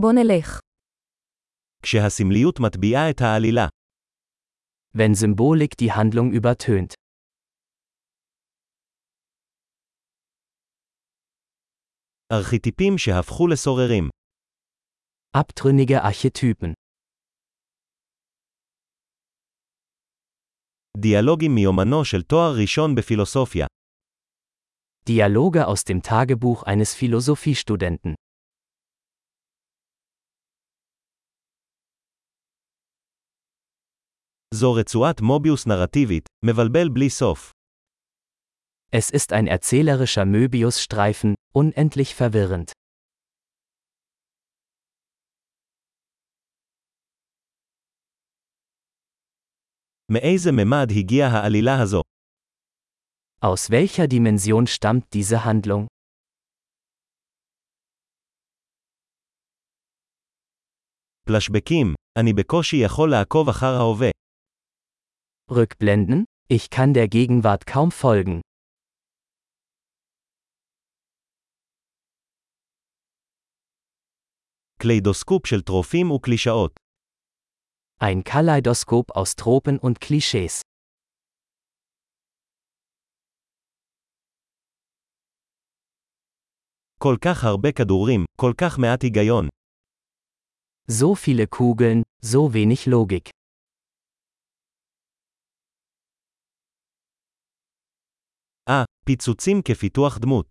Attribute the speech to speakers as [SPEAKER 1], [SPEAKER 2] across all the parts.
[SPEAKER 1] בוא נלך.
[SPEAKER 2] כשהסמליות מטביעה את העלילה.
[SPEAKER 3] Wenn Symbolik die Handlung übertönt.
[SPEAKER 2] ארכיטיפים שהפכו לסוררים.
[SPEAKER 3] Abtrünnige Archetypen.
[SPEAKER 2] דיאלוגים מיומנו של תואר ראשון בפילוסופיה.
[SPEAKER 3] Dialoge aus dem Tagebuch eines Philosophiestudenten.
[SPEAKER 2] זו רצועת מוביוס נרטיבית, מבלבל בלי סוף.
[SPEAKER 3] Es ist ein erzählerischer Möbiusstreifen, unendlich verwirrend.
[SPEAKER 2] מאיזה ממד הגיעה העלילה הזו?
[SPEAKER 3] Aus welcher Dimension stammt diese Handlung?
[SPEAKER 2] פלשבקים, אני בקושי יכול לעקוב אחר ההווה.
[SPEAKER 3] Rückblenden? Ich kann der Gegenwart kaum folgen.
[SPEAKER 2] קליידוסקופ של טרופים וקלישאות.
[SPEAKER 3] Ein Kaleidoskop aus Tropen und Klischees.
[SPEAKER 2] כל כך הרבה כדורים, כל כך מעט היגיון.
[SPEAKER 3] So viele Kugeln, so wenig Logik.
[SPEAKER 2] אה, פיצוצים כפיתוח דמות.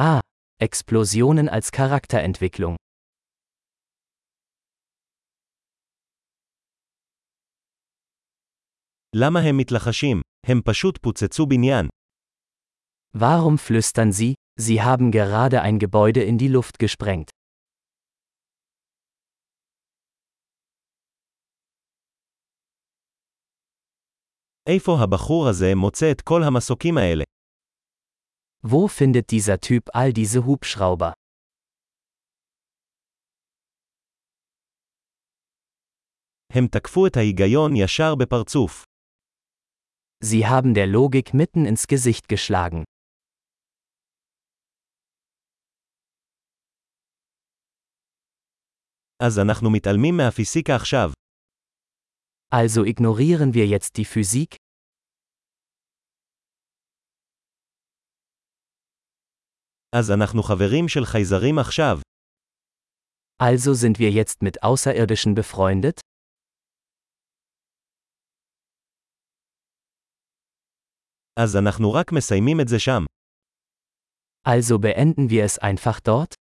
[SPEAKER 3] Ah, Explosionen als Charakterentwicklung.
[SPEAKER 2] למה הם מתלחשים? הם פשוט פוצצו בניין.
[SPEAKER 3] Warum flüstern Sie, Sie haben gerade ein Gebäude in die Luft gesprengt?
[SPEAKER 2] איפה הבחור הזה מוצא את כל המסוקים האלה?
[SPEAKER 3] Wo findet dieser Typ all diese Hubschrauber?
[SPEAKER 2] הם תקפו את ההיגיון ישר בפרצוף.
[SPEAKER 3] Sie haben der Logik mitten ins Gesicht geschlagen.
[SPEAKER 2] אז אנחנו מתעלמים מהפיסיקה עכשיו.
[SPEAKER 3] Also ignorieren wir jetzt die Physik?
[SPEAKER 2] אז אנחנו חברים של חייזרים עכשיו.
[SPEAKER 3] Also sind wir jetzt mit Außerirdischen befreundet?
[SPEAKER 2] אז אנחנו רק מסיימים את זה שם.
[SPEAKER 3] Also beenden wir es einfach dort?